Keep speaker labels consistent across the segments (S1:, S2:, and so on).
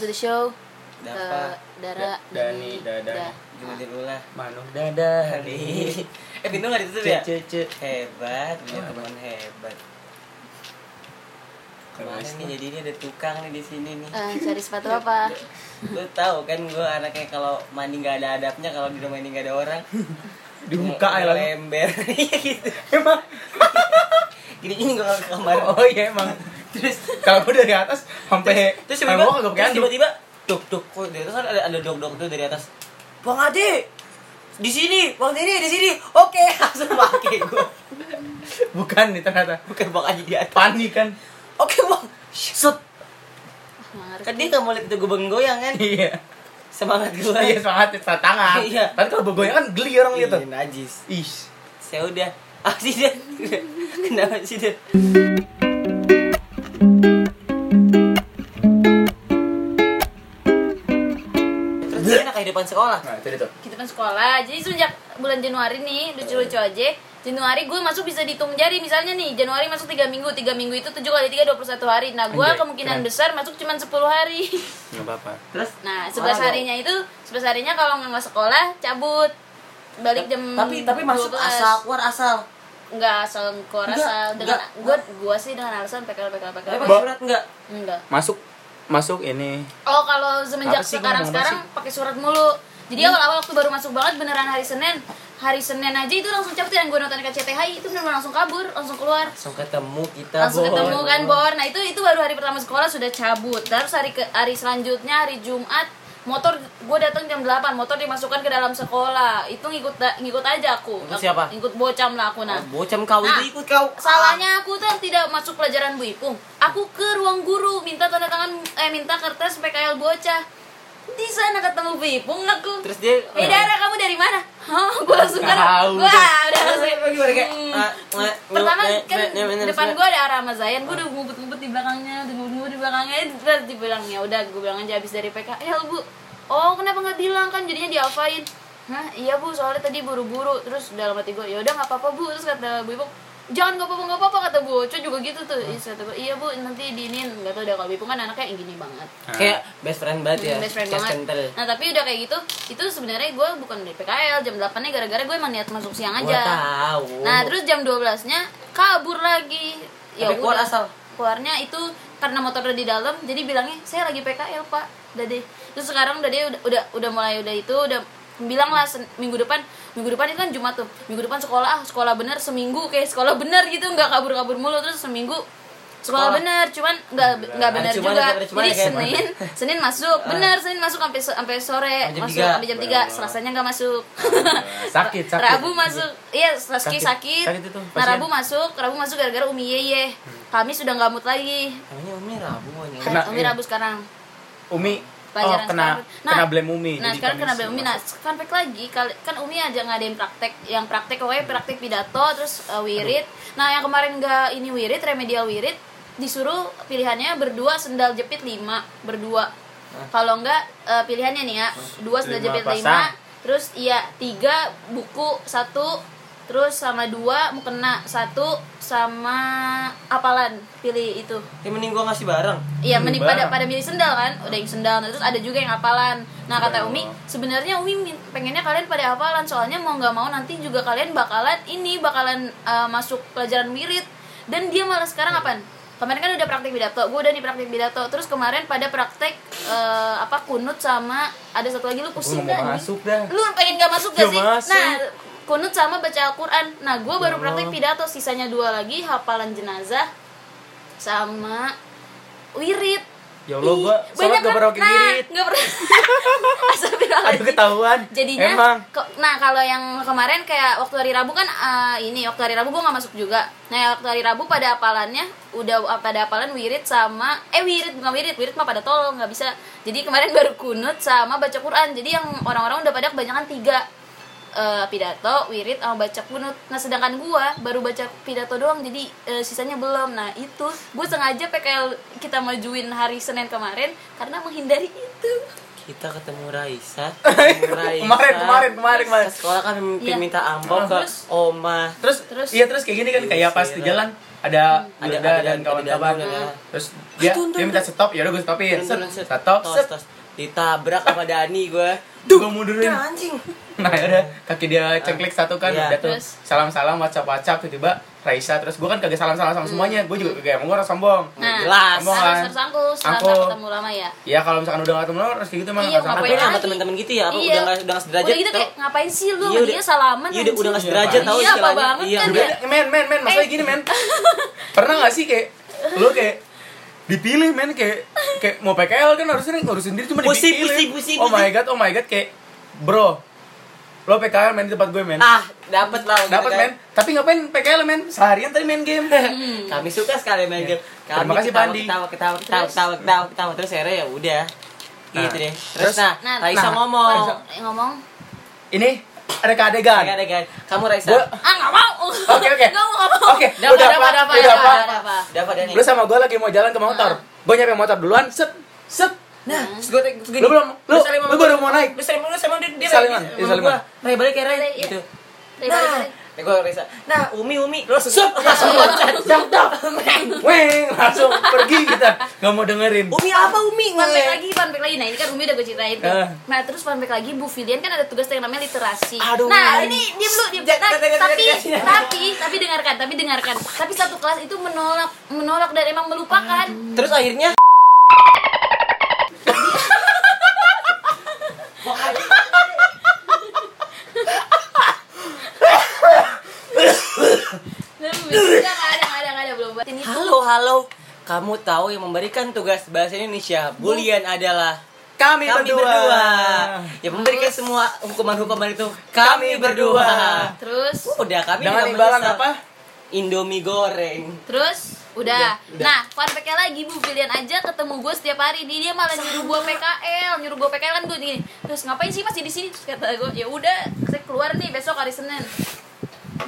S1: the show
S2: Dava,
S1: ke Dara
S3: Dani, Dada.
S2: Jumlah ulah.
S3: Manu dada
S2: Hari.
S3: hari.
S2: eh Bintang nggak ditutup
S3: Cek
S2: ya?
S3: cek cek.
S2: Hebat, punya
S3: Wah,
S2: teman hebat. Kemarin
S3: Terus,
S2: nih jadi ini ada tukang nih di sini nih.
S1: Eh, cari sepatu apa
S2: Lu tahu kan gue anaknya kalau mandi nggak ada adabnya, kalau di rumah ini nggak ada orang.
S3: Di muka ya
S2: Nge-
S3: lah.
S2: Ember. Iya, gitu.
S3: Emang
S2: Gini gini gue kalau ke kamar.
S3: Oh iya emang.
S2: Terus
S3: Kalau gue dari atas sampai
S2: terus
S3: sampai bawah kagak
S2: tiba-tiba terus
S3: pakai anduk.
S2: tiba-tiba dok dok kok dari atas kan ada ada dok dok tuh dari atas bang Ade di sini bang Dede di sini oke langsung pakai gue
S3: Bukan nih ternyata.
S2: bukan bang Ade di atas
S3: Panik kan.
S2: oke bang set
S1: Ah, nggak ngerti.
S2: kan dia nggak mau lihat gue goyang kan
S3: Iya.
S2: semangat gue
S3: Iya semangat ya, tantangan.
S2: Iya.
S3: Tapi kalau begonya kan geli orang gitu.
S2: Iya, najis
S3: Ih.
S2: saya udah aksiden kenapa aksiden terus gimana kehidupan sekolah
S3: Nah, itu dia tuh.
S1: kehidupan kan sekolah jadi sejak bulan Januari nih lucu-lucu
S2: Eh.
S1: aja Januari gue masuk bisa dihitung jari misalnya nih Januari masuk 3 minggu 3 minggu itu 7 kali 3 21 hari nah gue
S3: Anjay,
S1: kemungkinan
S3: keren.
S1: besar masuk cuma 10 hari
S3: Enggak apa-apa.
S2: terus
S1: nah 11
S2: Parah, Bang.
S1: harinya itu 11 harinya kalau nggak sekolah cabut balik jam
S2: tapi tapi masuk
S1: 12.
S2: asal keluar asal
S1: nggak asal keluar
S2: Nggak,
S1: asal dengan
S2: nggak.
S1: gue gue sih dengan alasan PKL PKL PKL
S2: Tapi pakai
S3: Ba-
S2: surat enggak?
S1: enggak
S3: Masuk masuk ini.
S1: Oh kalau semenjak
S3: Apa sih, Hmm?
S1: sekarang
S3: gua ngomong apa
S1: sekarang pakai surat mulu. Jadi awal-awal waktu baru masuk banget beneran hari Senin. Hari Senin aja itu langsung cabut yang gue nonton ke CTHI itu bener langsung kabur, langsung keluar.
S2: Langsung ketemu kita,
S1: Langsung
S2: Bon.
S1: ketemu kan Bor. Nah, itu itu baru hari pertama sekolah sudah cabut. Terus hari ke hari selanjutnya hari Jumat motor gue datang jam 8 motor dimasukkan ke dalam sekolah itu ngikut da- ngikut aja aku
S2: Ngikut siapa?
S1: ngikut bocam lah aku nah
S2: Oh, bocam kau
S1: Nah,
S2: itu ikut kau.
S1: Salahnya aku tuh yang tidak masuk pelajaran Bu Ipung. Aku ke ruang guru minta tanda tangan eh minta kertas PKL bocah. Di sana ketemu Bu Ipung aku.
S2: Terus dia
S1: Eh Dara kamu dari mana? Hah, gue langsung kan.
S3: Tahu,
S1: Wah, udah
S2: Terus
S1: langsung.
S2: dia gimana kayak?
S1: Hmm.
S2: ah, nge-
S1: Pertama
S2: nge-
S1: kan
S2: nge- nge- nge-
S1: depan
S2: nge-
S1: gue ada Ara sama Zayan, gue udah ngubut-ngubut di belakangnya, udah ngubut-ngubut di belakangnya, terus dibilang ya udah gue bilang aja habis dari PKL bu. Oh kenapa nggak bilang kan jadinya diapain? Hah iya bu soalnya tadi buru-buru terus dalam hati gue ya udah nggak apa-apa bu terus kata bu ibu jangan nggak apa-apa nggak apa-apa kata bu Oco juga gitu tuh Terus kata gue iya bu nanti diinin nggak tau deh kalau bu Ipung kan anaknya yang gini banget
S2: Kayak best friend banget ya.
S1: Hmm, best friend
S2: Kayak
S1: banget.
S2: kental.
S1: Nah tapi udah kayak gitu, itu sebenarnya gue bukan dari PKL jam 8 nya gara-gara gue emang niat masuk siang aja.
S2: Gua tahu.
S1: Nah terus jam 12 nya kabur lagi. Ya
S2: Tapi keluar
S1: udah.
S2: asal?
S1: Keluarnya itu karena motornya di dalam, jadi bilangnya saya lagi PKL pak, dade. Terus sekarang dade udah udah udah mulai udah itu udah bilang lah sen- minggu depan minggu depan itu kan Jumat tuh minggu depan sekolah ah sekolah bener seminggu kayak sekolah bener gitu nggak kabur-kabur mulu terus seminggu sekolah
S2: Sekolah.
S1: bener cuman nggak nggak
S2: Ada
S1: bener
S2: cuman,
S1: juga
S2: ada cuman,
S1: jadi
S2: kayak- Ah.
S1: Senin Senin masuk bener Senin masuk sampai so- sampai sore
S2: Sampai jam
S1: masuk
S2: tiga.
S1: sampai jam 3 Selasanya nggak masuk
S3: Nah, Sakit, sakit.
S1: Rabu masuk iya Selasa sakit,
S3: Sakit. Sakit itu,
S1: nah
S3: pasien. Hmm.
S1: Rabu masuk Rabu masuk gara-gara Umi Yeye Kamis sudah nggak mood lagi
S2: Namanya Umi Rabu namanya.
S3: Kena,
S1: Umi
S3: iya.
S1: Rabu sekarang
S3: Umi oh
S1: pelajaran
S3: kena
S1: sekarang.
S3: kena blame Umi.
S1: nah
S3: Jadi
S1: sekarang
S3: kami
S1: kena blame Umi nah fun fact lagi kali- kan Umi aja ngadain praktek yang praktek awalnya praktek pidato terus uh, wirid nah yang kemarin nggak ini wirid remedial wirid disuruh pilihannya berdua sendal jepit lima berdua kalau enggak eh, pilihannya nih ya dua sendal
S3: Lima
S1: jepit lima
S3: pasang.
S1: terus iya tiga buku satu terus sama dua mau kena satu sama apalan pilih itu
S2: Ya mending gua ngasih bareng.
S1: Iya,
S3: Hmm,
S1: mending pada
S3: barang.
S1: pada milih sendal kan, udah yang sendal, nah, terus ada juga yang hafalan. Nah kata
S3: Iya.
S1: Umi, sebenarnya Umi min- pengennya kalian pada hafalan, soalnya mau nggak mau nanti juga kalian bakalan ini bakalan uh, masuk pelajaran wirid. Dan dia malah sekarang
S3: Iya.
S1: apaan? Kemarin kan udah praktik pidato, gue udah di praktik pidato. Terus kemarin pada praktek uh, apa kunut sama ada satu lagi lu pusing
S3: Gua
S1: kan?
S3: mau masuk dah.
S1: Lu pengen gak masuk gak
S3: Gak
S1: sih?
S3: masuk.
S1: Nah kunut sama baca Al-Quran. Nah gue baru praktik pidato, sisanya dua lagi hafalan jenazah sama wirid
S3: Ya Allah, gua
S1: Ih, kan? Nah,
S3: sholat gak pernah pakai wirid.
S1: nggak pernah
S3: Aduh
S1: Astagfirullahaladzim.
S3: ketahuan.
S1: jadinya
S3: emang
S1: ke- nah kalau yang kemarin kayak waktu hari Rabu kan eh, ini waktu hari Rabu gue nggak masuk juga nah waktu hari Rabu pada apalannya udah eh, pada apalan wirid sama eh wirid bukan wirid wirid mah pada tol nggak bisa jadi kemarin baru kunut sama baca Quran jadi yang orang-orang udah pada kebanyakan tiga Eh, pidato, wirid, sama baca kunut. Nah sedangkan gua baru baca pidato doang, jadi eh, sisanya belum. Nah itu gue sengaja PKL kita majuin hari Senin kemarin karena menghindari itu.
S2: Kita ketemu Raisa. ketemu Raisa.
S3: Kemarin, kemarin, kemarin, kemarin.
S2: Ke sekolah kan mimpi
S1: Iya.
S2: minta ampau ke
S1: Terus?
S2: Oma.
S3: terus
S1: Terus?
S3: iya terus kayak gini kan kayak pas
S2: Iya.
S3: di jalan ada
S2: Ada-
S3: Yuda
S2: ada-
S3: dan
S2: ada
S3: kawan-kawan
S2: Yuda, Yuda.
S3: terus dia
S2: Tun, tun,
S3: dia minta stop ya udah gue
S2: Turun,
S3: stopin set
S2: turun, set.
S3: stop
S2: Tos,
S3: set
S2: tos. ditabrak sama Dani gue
S3: gue mundurin
S2: anjing
S3: nah udah kaki dia cengklik satu kan
S2: Iya.
S3: udah tuh
S1: Terus?
S3: salam salam whatsapp whatsapp tiba-tiba Raisa terus gue kan kagak salam salam sama semuanya gue juga kagak emang gue orang sombong
S1: Nah,
S2: Jelas.
S3: Sombong kan?
S1: harus tersangkul setelah
S3: Angkul.
S1: nggak ketemu lama ya.
S3: ya kalau misalkan udah gak ketemu lo harus kayak gitu emang
S1: Iya,
S3: nggak salah.
S2: apa
S1: Ngapain
S2: ya sama
S1: lagi?
S2: temen-temen gitu ya apa
S1: Iya.
S2: udah nggak udah nggak
S1: Udah
S2: sederajat
S1: gitu
S2: tau?
S1: kayak ngapain sih lu
S2: Iya,
S1: sama
S2: udah-
S1: dia salaman?
S2: iya udah udah nggak
S1: anjing?
S2: sederajat tau
S1: Iya, apa
S2: istilahnya.
S1: banget
S2: Iya.
S1: kan
S3: Beda,
S1: ya?
S3: men men men masalah
S2: Eh.
S3: gini men pernah nggak sih kayak lo kayak dipilih men kayak kayak mau PKL kan harusnya ngurusin diri cuma
S2: Pusing,
S3: dipilih
S2: pusing, pusing,
S3: oh my
S2: pusing.
S3: god oh my god kayak bro lo PKL main di tempat gue men
S2: ah dapat lah gitu
S3: dapat
S2: kan.
S3: men tapi ngapain PKL men seharian tadi main game
S2: kami suka sekali main game kami
S3: Hmm. Iya. Terima kasih,
S2: ketawa,
S3: Pandi.
S2: ketawa ketawa ketawa ketawa ketawa ketawa terus akhirnya ya udah gitu
S3: Nah,
S2: deh
S3: terus-
S2: terus nah
S1: Nah,
S2: Raisa
S3: nah,
S2: ngomong
S3: Raisa-
S1: Eh, ngomong
S3: ini reka adegan
S2: Ada kan kamu Raisa
S3: Gua-
S1: ah nggak mau
S3: Oke, oke.
S1: nggak mau nggak mau
S3: oke
S2: Dapat,
S3: udah
S2: dapat,
S3: apa
S2: dapat,
S3: udah apa
S1: Ada apa?
S2: dapat Dani
S3: lu sama gue lagi mau jalan ke motor
S2: Ah.
S3: gue nyampe motor duluan set set
S2: nah terus gue terus gini.
S3: Lu belum- lu-
S2: saling
S3: lu
S2: ngomong. gitu.
S3: baru mau naik.
S2: lu saling lu gitu. sama dia dia
S3: Saliman,
S2: sama
S3: iya,
S2: gua.
S3: saliman.
S2: Ray balik ya Ray
S1: Ray, iya.
S2: gitu
S1: Ray, balik,
S2: nah
S1: balik.
S2: ya gue Raisa nah Umi Umi lu
S3: set langsung Nah, loncat dak dak weng langsung pergi kita nggak mau dengerin
S2: Umi apa Umi
S1: Fun fact
S2: Ngomong.
S1: lagi, fun fact lagi. Nah ini kan Umi udah gue ceritain tuh.
S3: Eh.
S1: Nah terus fun fact lagi, Bu Filian kan ada tugas yang namanya literasi.
S2: Aduh,
S1: nah
S2: man.
S1: ini dia dulu, dia
S2: Jangan, jangan, jangan,
S1: tapi,
S2: jangan.
S1: tapi, tapi dengarkan, tapi dengarkan. Tapi satu kelas itu menolak, menolak dan emang melupakan.
S2: terus akhirnya
S1: Nah, Enggak nggak ada, nggak ada, nggak ada belum. buat Ini tuh
S2: halo halo kamu tahu yang memberikan tugas bahasa Indonesia bulian adalah
S3: kami,
S2: kami berdua. Ya memberikan semua hukuman-hukuman itu kami,
S3: Kami
S2: berdua.
S3: berdua.
S1: terus,
S2: Udah kami
S3: dengan
S2: tidak
S3: imbalan
S2: menyesal.
S3: apa
S2: Indomie goreng.
S1: terus. Udah. Nah, fun fact-nya lagi Bu Filian aja ketemu gue setiap hari. Dia, dia malah nyuruh gue PKL, nyuruh gue PKL kan gue gini. Terus ngapain sih masih di sini? Terus kata gue, ya udah, saya keluar nih besok hari Senin.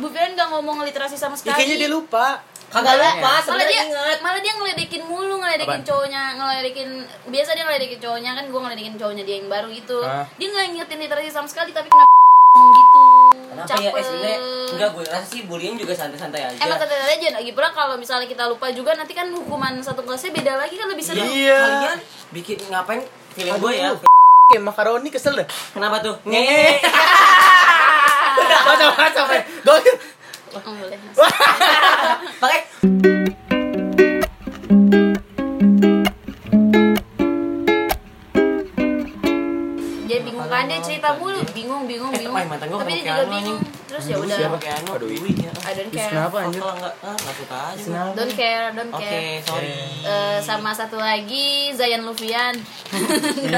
S1: Bu Filian gak ngomong literasi sama
S3: ya,
S1: sekali.
S3: kayaknya dia lupa
S2: Kagak lupa,
S1: malah
S2: sebenarnya
S1: dia
S2: ingat.
S1: malah dia ngeledekin mulu ngeledekin
S3: Apaan?
S1: cowoknya ngeledekin biasa dia ngeledekin cowoknya kan gue ngeledekin cowoknya dia yang baru gitu
S3: Hah?
S1: dia nggak ngingetin literasi sama sekali tapi kenapa ngomong gitu
S2: Kenapa ya
S1: capek
S2: eh, sebenarnya enggak gue rasa sih bulian juga santai-santai aja.
S1: Emang kata aja lagi pula kalau misalnya kita lupa juga nanti kan hukuman satu kelasnya beda lagi kan lebih seru.
S3: Iya.
S2: Kalian bikin ngapain? Feeling gue ya.
S3: Aduh. kayak makaroni kesel deh
S2: Kenapa tuh? Nge.
S3: kacau kacau men gokil
S1: Oh, boleh.
S2: Pakai
S1: Dia bingung kan dia cerita mulu, bingung bingung
S2: Eh,
S1: bingung.
S2: main mantan gua
S1: Tapi dia
S2: ketemu
S1: juga
S2: piano
S1: bingung. Terus ya
S3: Aduh,
S1: udah.
S3: siapa?
S2: pakai anu.
S3: Aduh,
S2: duit
S3: ini.
S2: ya.
S1: I don't
S3: Ih,
S1: care.
S3: kenapa
S2: Oh,
S3: anjir
S2: Kalau enggak, ah, enggak suka aja.
S3: kenapa
S1: Don't care, don't
S2: Oke,
S1: care.
S2: sorry.
S1: Eh, sama satu lagi Zayan Lufian.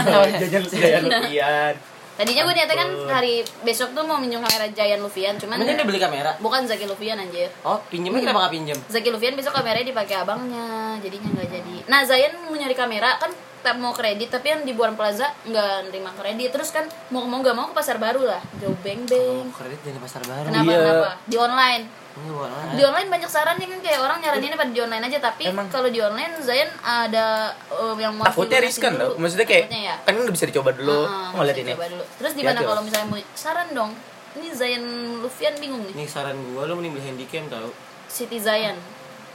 S3: Oh, jajan jajan lupian
S1: Tadinya gue niatnya kan hari besok tuh mau minjem kamera Jayan Lufian, cuman
S2: Mending dia beli kamera.
S1: bukan Zaki Lufian anjir.
S2: Oh,
S1: Iya.
S2: pinjemnya kenapa enggak pinjem?
S1: Zaki Lufian besok kameranya dipakai abangnya, jadinya nggak jadi. Nah Zayan mau nyari kamera kan tak mau kredit tapi kan di Buan Plaza nggak nerima kredit terus kan mau mau nggak mau ke pasar baru lah jauh beng beng
S2: Oh, Kredit dari pasar baru.
S1: kenapa
S3: Oh, Iya. Ah.
S1: kenapa di online
S2: Ini boleh.
S1: di online banyak saran nih kan kayak orang nyaraninnya pada di online aja tapi
S3: Emang?
S1: kalau di online Zayan ada eh, yang mau
S3: takutnya riskan loh maksudnya kayak
S1: Takutnya ya.
S3: kan nggak bisa dicoba dulu
S1: Heeh,
S3: mau ya? lihat
S1: saya
S3: ini
S1: coba dulu. Terus di mana
S3: Lihat
S1: kalau
S3: dulu.
S1: misalnya mau saran dong? Ini Zayan Lufian bingung nih.
S2: Ini saran gue lo mending beli handycam tau
S1: Siti Zayan.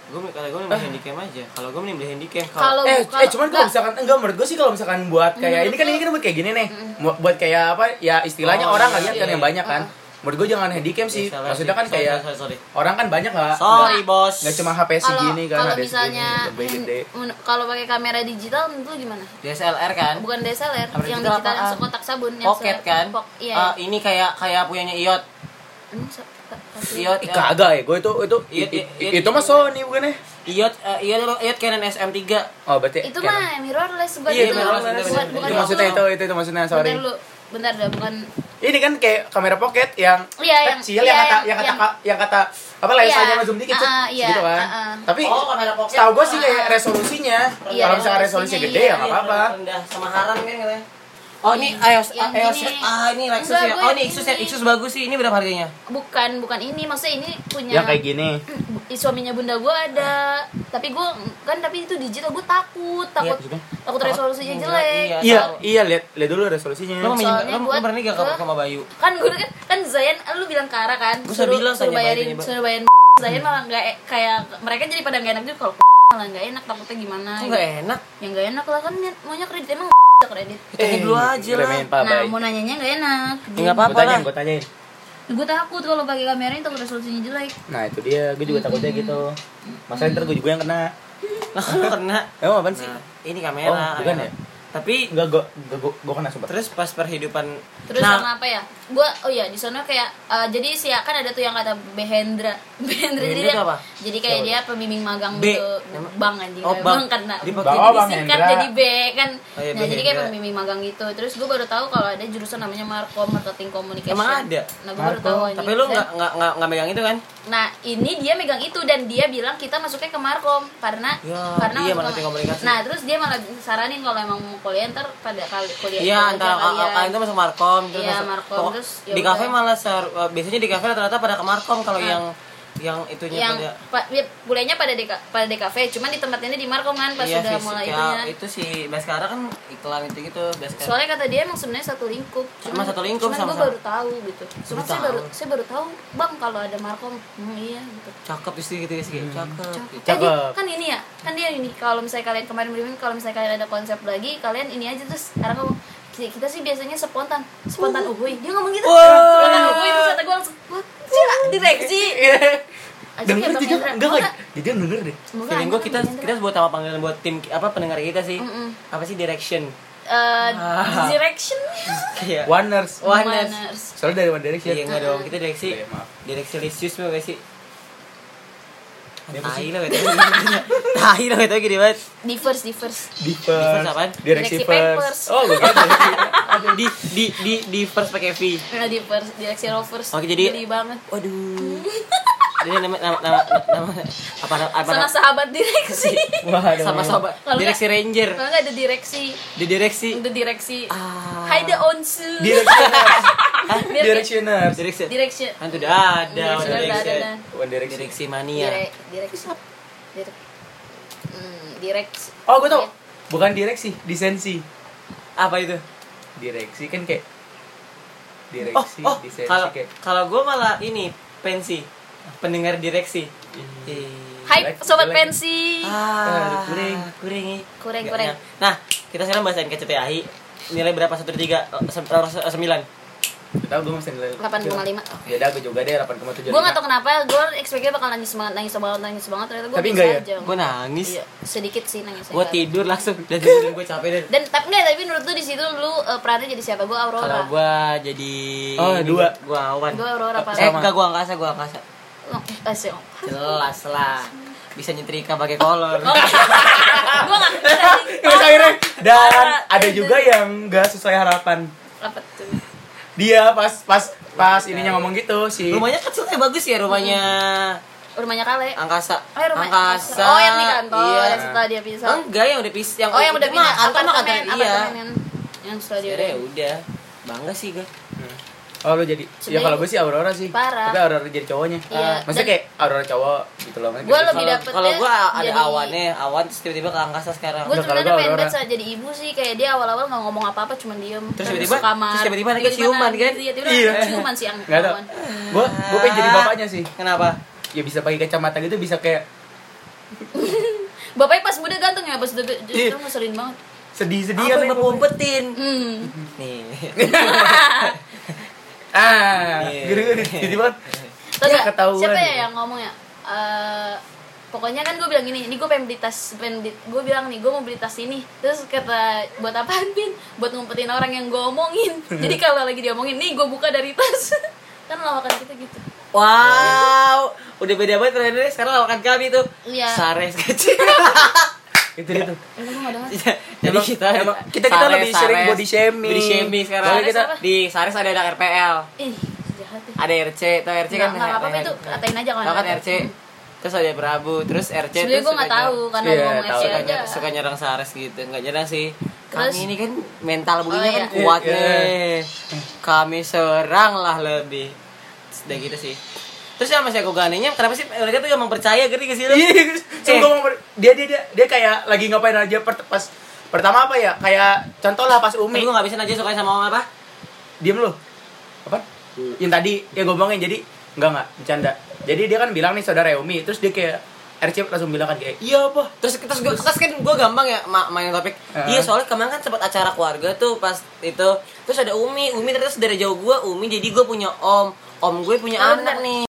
S2: Gue kalau gue mending beli handycam aja Kalau gue mending beli handycam
S1: Eh. Kalau
S3: eh,
S1: kalau-
S3: eh cuman kalau
S1: enggak.
S3: misalkan enggak menurut gue sih kalau misalkan buat kayak ini kan ini kan buat kayak gini nih Buat- buat kayak apa ya istilahnya
S2: Oh,
S3: orang
S2: iya,
S3: nggak lihat kan
S2: iya.
S3: yang banyak kan menurut gue jangan handycam sih
S2: Iya, salah
S3: maksudnya
S2: sih.
S3: kan
S2: Sorry,
S3: kayak
S2: sorry, sorry.
S3: orang kan banyak lah
S2: Sorry bos
S3: nggak cuma HP
S1: kalau
S3: segini kan
S1: kalau
S3: ada
S1: misalnya
S3: segini lebih gede
S1: men- kalau pakai kamera digital itu gimana?
S2: DSLR kan
S1: Bukan DSLR,
S2: Kamera
S1: yang
S2: digital
S1: digital yang
S2: apaan?
S1: sekotak sabun yang
S2: Pocket
S1: se-
S2: kan
S1: pok- Iya.
S3: Ah,
S2: Eh, Ini kayak kayak punyanya Iot
S1: Emang se- ta- asli?
S2: Iot
S3: Ih,
S2: ya.
S3: kagak ya, gue itu itu
S2: Iya,
S3: i- i-
S2: iya,
S3: itu mah Sony bukan ya?
S2: Iot eh, Iot Iot Canon SM3
S3: Oh, berarti
S1: Itu
S3: Canon.
S1: mah mirrorless bukan itu.
S3: Iya,
S2: mirrorless,
S1: Bukan-
S2: bener-bener.
S1: bukan
S3: itu
S1: itu.
S3: maksudnya itu itu itu maksudnya sorry.
S1: Bentar dulu. Bentar dah, bukan
S3: Ini kan kayak kamera pocket yang
S1: Iya, yang-
S3: kecil
S1: iya,
S3: yang kata yang
S1: yang-
S3: kata yang kata apa lensanya
S1: Iya.
S3: sama zoom dikit
S1: Ah,
S3: set,
S1: ah, iya,
S3: gitu kan.
S1: ah, ah.
S3: Tapi
S2: Oh kamera pocket
S3: Tahu gue sih kayak resolusinya.
S1: Iya,
S3: Kalau misalnya resolusi
S1: resolusinya,
S3: gede
S1: iya.
S3: ya nggak apa-apa.
S2: Rendah sama haram kan katanya Oh ini iOS,
S1: Yang
S2: iOS,
S1: gini.
S2: ah ini Lexus
S1: Enggak,
S2: ya,
S1: gue
S2: oh ini
S1: yang
S2: Lexus ya,
S1: ini.
S2: Lexus bagus sih, ini berapa harganya?
S1: bukan bukan ini. Maksudnya ini punya
S3: Yang Ya, kayak gini.
S1: Ih, suaminya bunda gue ada tapi gue kan tapi itu digital gue takut takut
S3: Iya, maksudnya?
S1: takut resolusinya
S2: Iya,
S1: jelek
S2: iya.
S3: Iya,
S2: tahu.
S3: iya lihat lihat dulu resolusinya.
S2: Lo mau minjem,
S1: Soalnya
S2: lo
S1: buat-
S2: lo berani gak ke
S1: Hah?
S2: sama Bayu?
S1: kan gue kan kan Zayan lu bilang ke Ara kan
S2: Gua sudah bilang,
S1: suruh
S2: tanya
S1: bayarin
S2: Bayu, tanya Bayu.
S1: suruh bayarin
S2: Hmm.
S1: Zain malah nggak e, kayak mereka jadi pada nggak enak juga kalau malah nggak enak takutnya gimana
S2: Kok
S1: gitu.
S2: nggak e- enak?
S1: yang nggak enak lah kan niat- maunya kredit emang bisa kredit
S4: Eh,
S2: Tanya dulu aja lah.
S4: Remehin Pak
S1: nah
S4: Bay.
S1: mau nanyanya nggak enak
S2: Enggak
S4: Gue
S2: apa-apa lah.
S4: tanyain, gue tanyain.
S1: gue takut kalau pakai kamera itu resolusinya jelek
S4: Nah itu dia, gue juga takutnya gitu. Masalah ntar gue juga yang kena.
S2: Lah kan lu kena
S4: Emang apaan sih?
S2: Nah, ini
S4: Oh,
S2: kamera.
S4: bukan ya?
S2: kamera. Tapi
S4: Enggak, gue gue gue kena sumpah.
S2: terus pas perhidupan
S1: terus
S2: nah,
S1: sama apa ya gue oh ya di sana kayak eh, jadi si kan ada tuh yang kata Behendra Behendra jadi
S2: Behendra
S1: dia
S2: apa?
S1: jadi kayak dia pembimbing magang
S2: B.
S1: gitu
S2: Nama-
S1: bang anjing kan, nah,
S2: Oh,
S1: kayak
S2: Bang.
S1: bang karena
S2: Dipakai
S1: jadi
S3: Oh, Bang
S1: disingkat
S3: Hendra.
S1: jadi B kan
S2: Oh, iya,
S1: nah jadi kayak
S2: Behendra.
S1: pembimbing magang gitu terus gue baru tahu kalau ada jurusan namanya Markom Marketing Communication
S2: Emang ada?
S1: nah gue baru
S4: Markom.
S1: tahu anjing.
S2: tapi lu
S1: Dan-
S2: nggak nggak nggak nggak megang itu kan?
S1: Nah, ini dia megang itu dan dia bilang kita masuknya ke Markom karena
S2: Ya,
S1: karena
S2: iya,
S1: masuk
S2: marketing
S1: ke-
S2: komunikasi.
S1: Nah, terus dia malah saranin kalau emang mau kuliah ntar pada kali kuliah
S2: Iya,
S1: kalau
S2: antara
S1: aja kalian.
S2: kalian tuh masuk Markom terus
S1: Iya,
S2: masuk-
S1: Markom,
S2: pokok-
S1: terus ya
S2: di
S1: udah. Nah.
S2: kafe malah seharu- eh, biasanya di kafe rata-rata pada ke Markom kalau yang yang itunya
S1: yang
S2: Iya,
S1: pa,
S2: pada
S1: dia kuliahnya pada DK, pada DKV, cuman di tempatnya di Markom kan pas
S2: iya
S1: sudah
S2: sih,
S1: mulai
S2: ya,
S1: itunya.
S2: itu si Baskara kan iklan itu gitu Baskara.
S1: Soalnya kata dia emang sebenarnya satu lingkup.
S2: Cuma satu lingkup
S1: cuman
S2: sama-sama.
S1: gue baru tahu gitu. Cuma saya
S2: tahu.
S1: baru saya baru tahu, Bang, kalau ada Markom. Hmm, iya gitu.
S2: Cakep istri gitu ya sih,
S4: Hmm.
S2: cakep.
S1: Jadi
S4: Cakep.
S1: kan ini ya, kan dia ini kalau misalnya kalian kemarin berimbing kalau misalnya kalian ada konsep lagi, kalian ini aja terus sekarang ngomong "Ki- kita sih biasanya spontan, spontan
S2: Oh.
S1: uhuy. Dia ngomong gitu. Spontan uhuy terus kata gue langsung, "Wah, gila, direksi."
S2: Iya.
S1: Aja
S3: Denger
S1: kayak
S3: juga
S1: ya, Bang
S3: enggak
S1: Hendra.
S3: lagi. Jadi dia denger deh.
S1: kan. Semoga gitu.
S2: Feeling gue
S1: Anda
S2: kita
S1: Bang Hendra.
S2: kita buat sama panggilan buat tim apa pendengar kita sih. Apa sih direction?
S1: Eh,
S2: Ah.
S1: direction.
S2: Iya.
S3: Warners.
S2: Warners.
S1: Manners.
S3: Soalnya dari One Direction.
S2: Iya enggak dong, kita direksi.
S3: Iya, maaf.
S2: Direksi lisius mah guys sih. Tai lah betul. Tai lah betul gini banget.
S1: Diverse, diverse.
S3: Divers.
S2: apaan?
S1: Direksi
S3: Direksi
S1: Papers.
S3: Papers. Oh, gue kira direksi.
S2: Di di di di first pakai V.
S1: Nah, diverse, direksi rovers.
S2: Oke, jadi-
S1: Geli banget.
S2: Waduh. Jadi nama nama nama, nama apa apa
S1: Sama sahabat direksi.
S4: Waduh.
S2: sama sobat
S1: Kalau nggak-
S2: direksi ranger
S1: Kalau nggak ada direksi,
S2: di direksi
S1: ada direksi.
S2: Ah.
S1: Hai the onsu.
S3: Directioners.
S1: Direksi.
S3: Directioners.
S2: direksi
S1: Direksi.
S2: kan tuh udah ada
S1: Direksi
S2: udah
S1: udah
S2: direksi
S1: ada,
S3: One Direction.
S2: direksi mania
S1: Dire- direksi Direk. Hmm, direksi Iya.
S3: Oh, gue
S2: Iya.
S3: tau. Bukan direksi, disensi.
S2: apa itu
S3: Direksi kan kayak
S2: oh
S3: direksi,
S2: oh
S3: disensi
S2: kalau
S3: kayak
S2: kalau gue malah ini pensi pendengar direksi Ih.
S1: Hai
S3: Jelek,
S1: sobat
S3: jelek.
S1: pensi.
S2: ah
S3: kuring.
S2: kuring ih.
S1: Kuring,
S2: Nggak
S1: kuring.
S2: enak. nah kita sekarang bahas NKCTI nilai berapa satu dari tiga Eh, sem- eh, sembilan
S3: Tahu gue masih nilai
S1: 8,5.
S2: Ah.
S3: Ya udah gue juga deh 8,75.
S1: Gue gak tau kenapa, gue expect-nya bakal nangis banget, nangis banget, nangis banget Ternyata gue
S3: Tapi
S1: biasa
S3: enggak ya?
S1: aja
S2: gue nangis
S1: Iya, sedikit sih nangisnya
S2: gue
S1: Kak.
S2: tidur langsung dan gue capek dan
S1: Dan tapi enggak, tapi menurut lu di situ lu eh, perannya jadi siapa? Gue
S2: Kalau
S1: Aurora
S2: gua jadi
S3: Oh,
S2: ini
S3: dua.
S2: gua- Gua awan.
S1: Gua Aurora, Pak.
S2: Eh, enggak gua angkasa, gua angkasa.
S1: Oh, eh, sih, oh.
S2: Jelas lah. Bisa nyetrika pakai kolor.
S1: Oh. Gue gak
S3: Terus akhirnya dan
S1: Parah.
S3: ada juga yang gak sesuai harapan.
S1: Apa tuh?
S3: Dia pas pas pas ininya ngomong gitu si
S2: Rumahnya kecil kayak bagus ya rumahnya
S1: Hmm. Rumahnya Kale
S2: angkasa.
S1: Oh, rumah
S2: angkasa.
S1: Oh, yang di kantor,
S2: Iya.
S1: yang setelah dia pisah
S2: Enggak, yang udah pis yang
S1: Oh, yang udah
S2: itu mah
S1: pindah
S2: kantor mah kantor
S1: apartemen,
S2: iya.
S1: apartemen yang setelah dia
S2: Akhirnya ya udah. Bangga sih gua.
S3: Oh lu jadi
S1: Sebenarnya-
S3: Ya kalau gue sih Aurora sih
S1: Parah.
S3: Tapi Aurora jadi cowoknya Ah,
S1: Iya,
S3: Maksudnya
S1: dan-
S3: kayak Aurora cowok gitu loh
S1: Gua
S3: Gitu.
S1: lebih-
S2: Kalau-
S1: dapetnya
S2: Kalau gua ada
S1: jadi-
S2: awannya, awan terus tiba-tiba ke angkasa sekarang.
S1: gue
S3: Udah, kalau
S1: sebenarnya
S3: gua
S1: pengen banget
S3: Aurora.
S1: saat jadi ibu sih kayak dia awal-awal nggak ngomong apa-apa cuman diem
S2: Terus tiba-tiba-
S1: masuk kamar
S2: terus tiba-tiba lagi ciuman, kan?
S1: iya tiba-tiba
S3: Iya.
S1: ciuman sih ang
S3: Nggak tau
S1: awan.
S3: Gue gue pengen jadi bapaknya sih
S2: Kenapa?
S3: Ya bisa pakai kacamata gitu bisa kayak
S1: bapaknya pas muda ganteng ya pas udah itu
S3: Iya.
S1: ngeselin banget
S3: sedih-sedih
S2: Dia
S3: kan
S2: yang ngumpetin.
S1: hmm
S2: Nih.
S3: Ah,
S2: Iya.
S3: gede-gede jadi banget
S1: Terus
S3: Ya,
S1: ya,
S3: ketahuan.
S1: siapa ya yang ngomong ya Eh, pokoknya kan gue bilang gini ini gue pengen beli tas pengen beli- gue bilang nih gue mau beli tas ini terus kata buat apaan pin buat ngumpetin orang yang gue omongin jadi kalau lagi diomongin nih gue buka dari tas kan lawakan kita gitu
S2: Wow, udah beda banget trennya sekarang lawakan kami tuh.
S1: Iya.
S2: Sares kecil.
S3: Itu dia tuh
S1: Eh, gue nggak dengar
S2: Jadi
S3: Emang-
S2: kita
S3: emang kita- kita lebih sering body shaming.
S2: Body shaming sekarang.
S3: Soalnya
S1: kita-
S2: Sares apa? di Sares ada anak RPL,
S1: ih jahat ya
S2: ada RC, tau RC
S1: Nggak-
S2: kan?
S1: nggak apa-apa itu, katain aja kalau
S2: Tau kan
S1: ada.
S2: RC. Terus ada Prabu, terus RC
S1: sebenarnya
S2: terus
S1: gue nggak
S2: suka
S1: tahu
S2: nyerang-
S1: karena
S3: Iya,
S1: ngomong
S3: tahu.
S1: SC
S2: Suka,
S1: aja
S2: nyerang, suka nyerang Sares gitu, nggak nyerang sih.
S1: Terus-
S2: kami ini kan mental begini
S1: Oh,
S2: kan
S1: iya.
S2: kuat
S3: Iya.
S2: nih. Kami serang lah lebih. Terus Udah gitu sih. Terus sama si Koganinya, kenapa sih mereka tuh emang percaya gitu gak sih lu?
S3: Iya,
S2: Eh.
S3: sumpah mau ber- dia dia dia dia kayak lagi ngapain aja per- pas pertama apa ya? Kayak contoh lah pas
S2: Tapi
S3: Umi.
S2: gue gak bisa aja suka sama orang apa?
S3: Diem lu. Apa? Yang tadi ya gue bilangin jadi Enggak enggak, bercanda. Jadi dia kan bilang nih saudara Umi, terus dia kayak RC langsung bilang kan kayak iya apa?
S2: terus terus gue terus kan gue gampang ya ma- mainin topik
S3: Heeh.
S2: iya soalnya kemarin kan sempat acara keluarga tuh pas itu terus ada umi umi ternyata dari jauh gue umi jadi gue punya om om gue punya
S1: Oh,
S2: anak
S1: bener.
S2: nih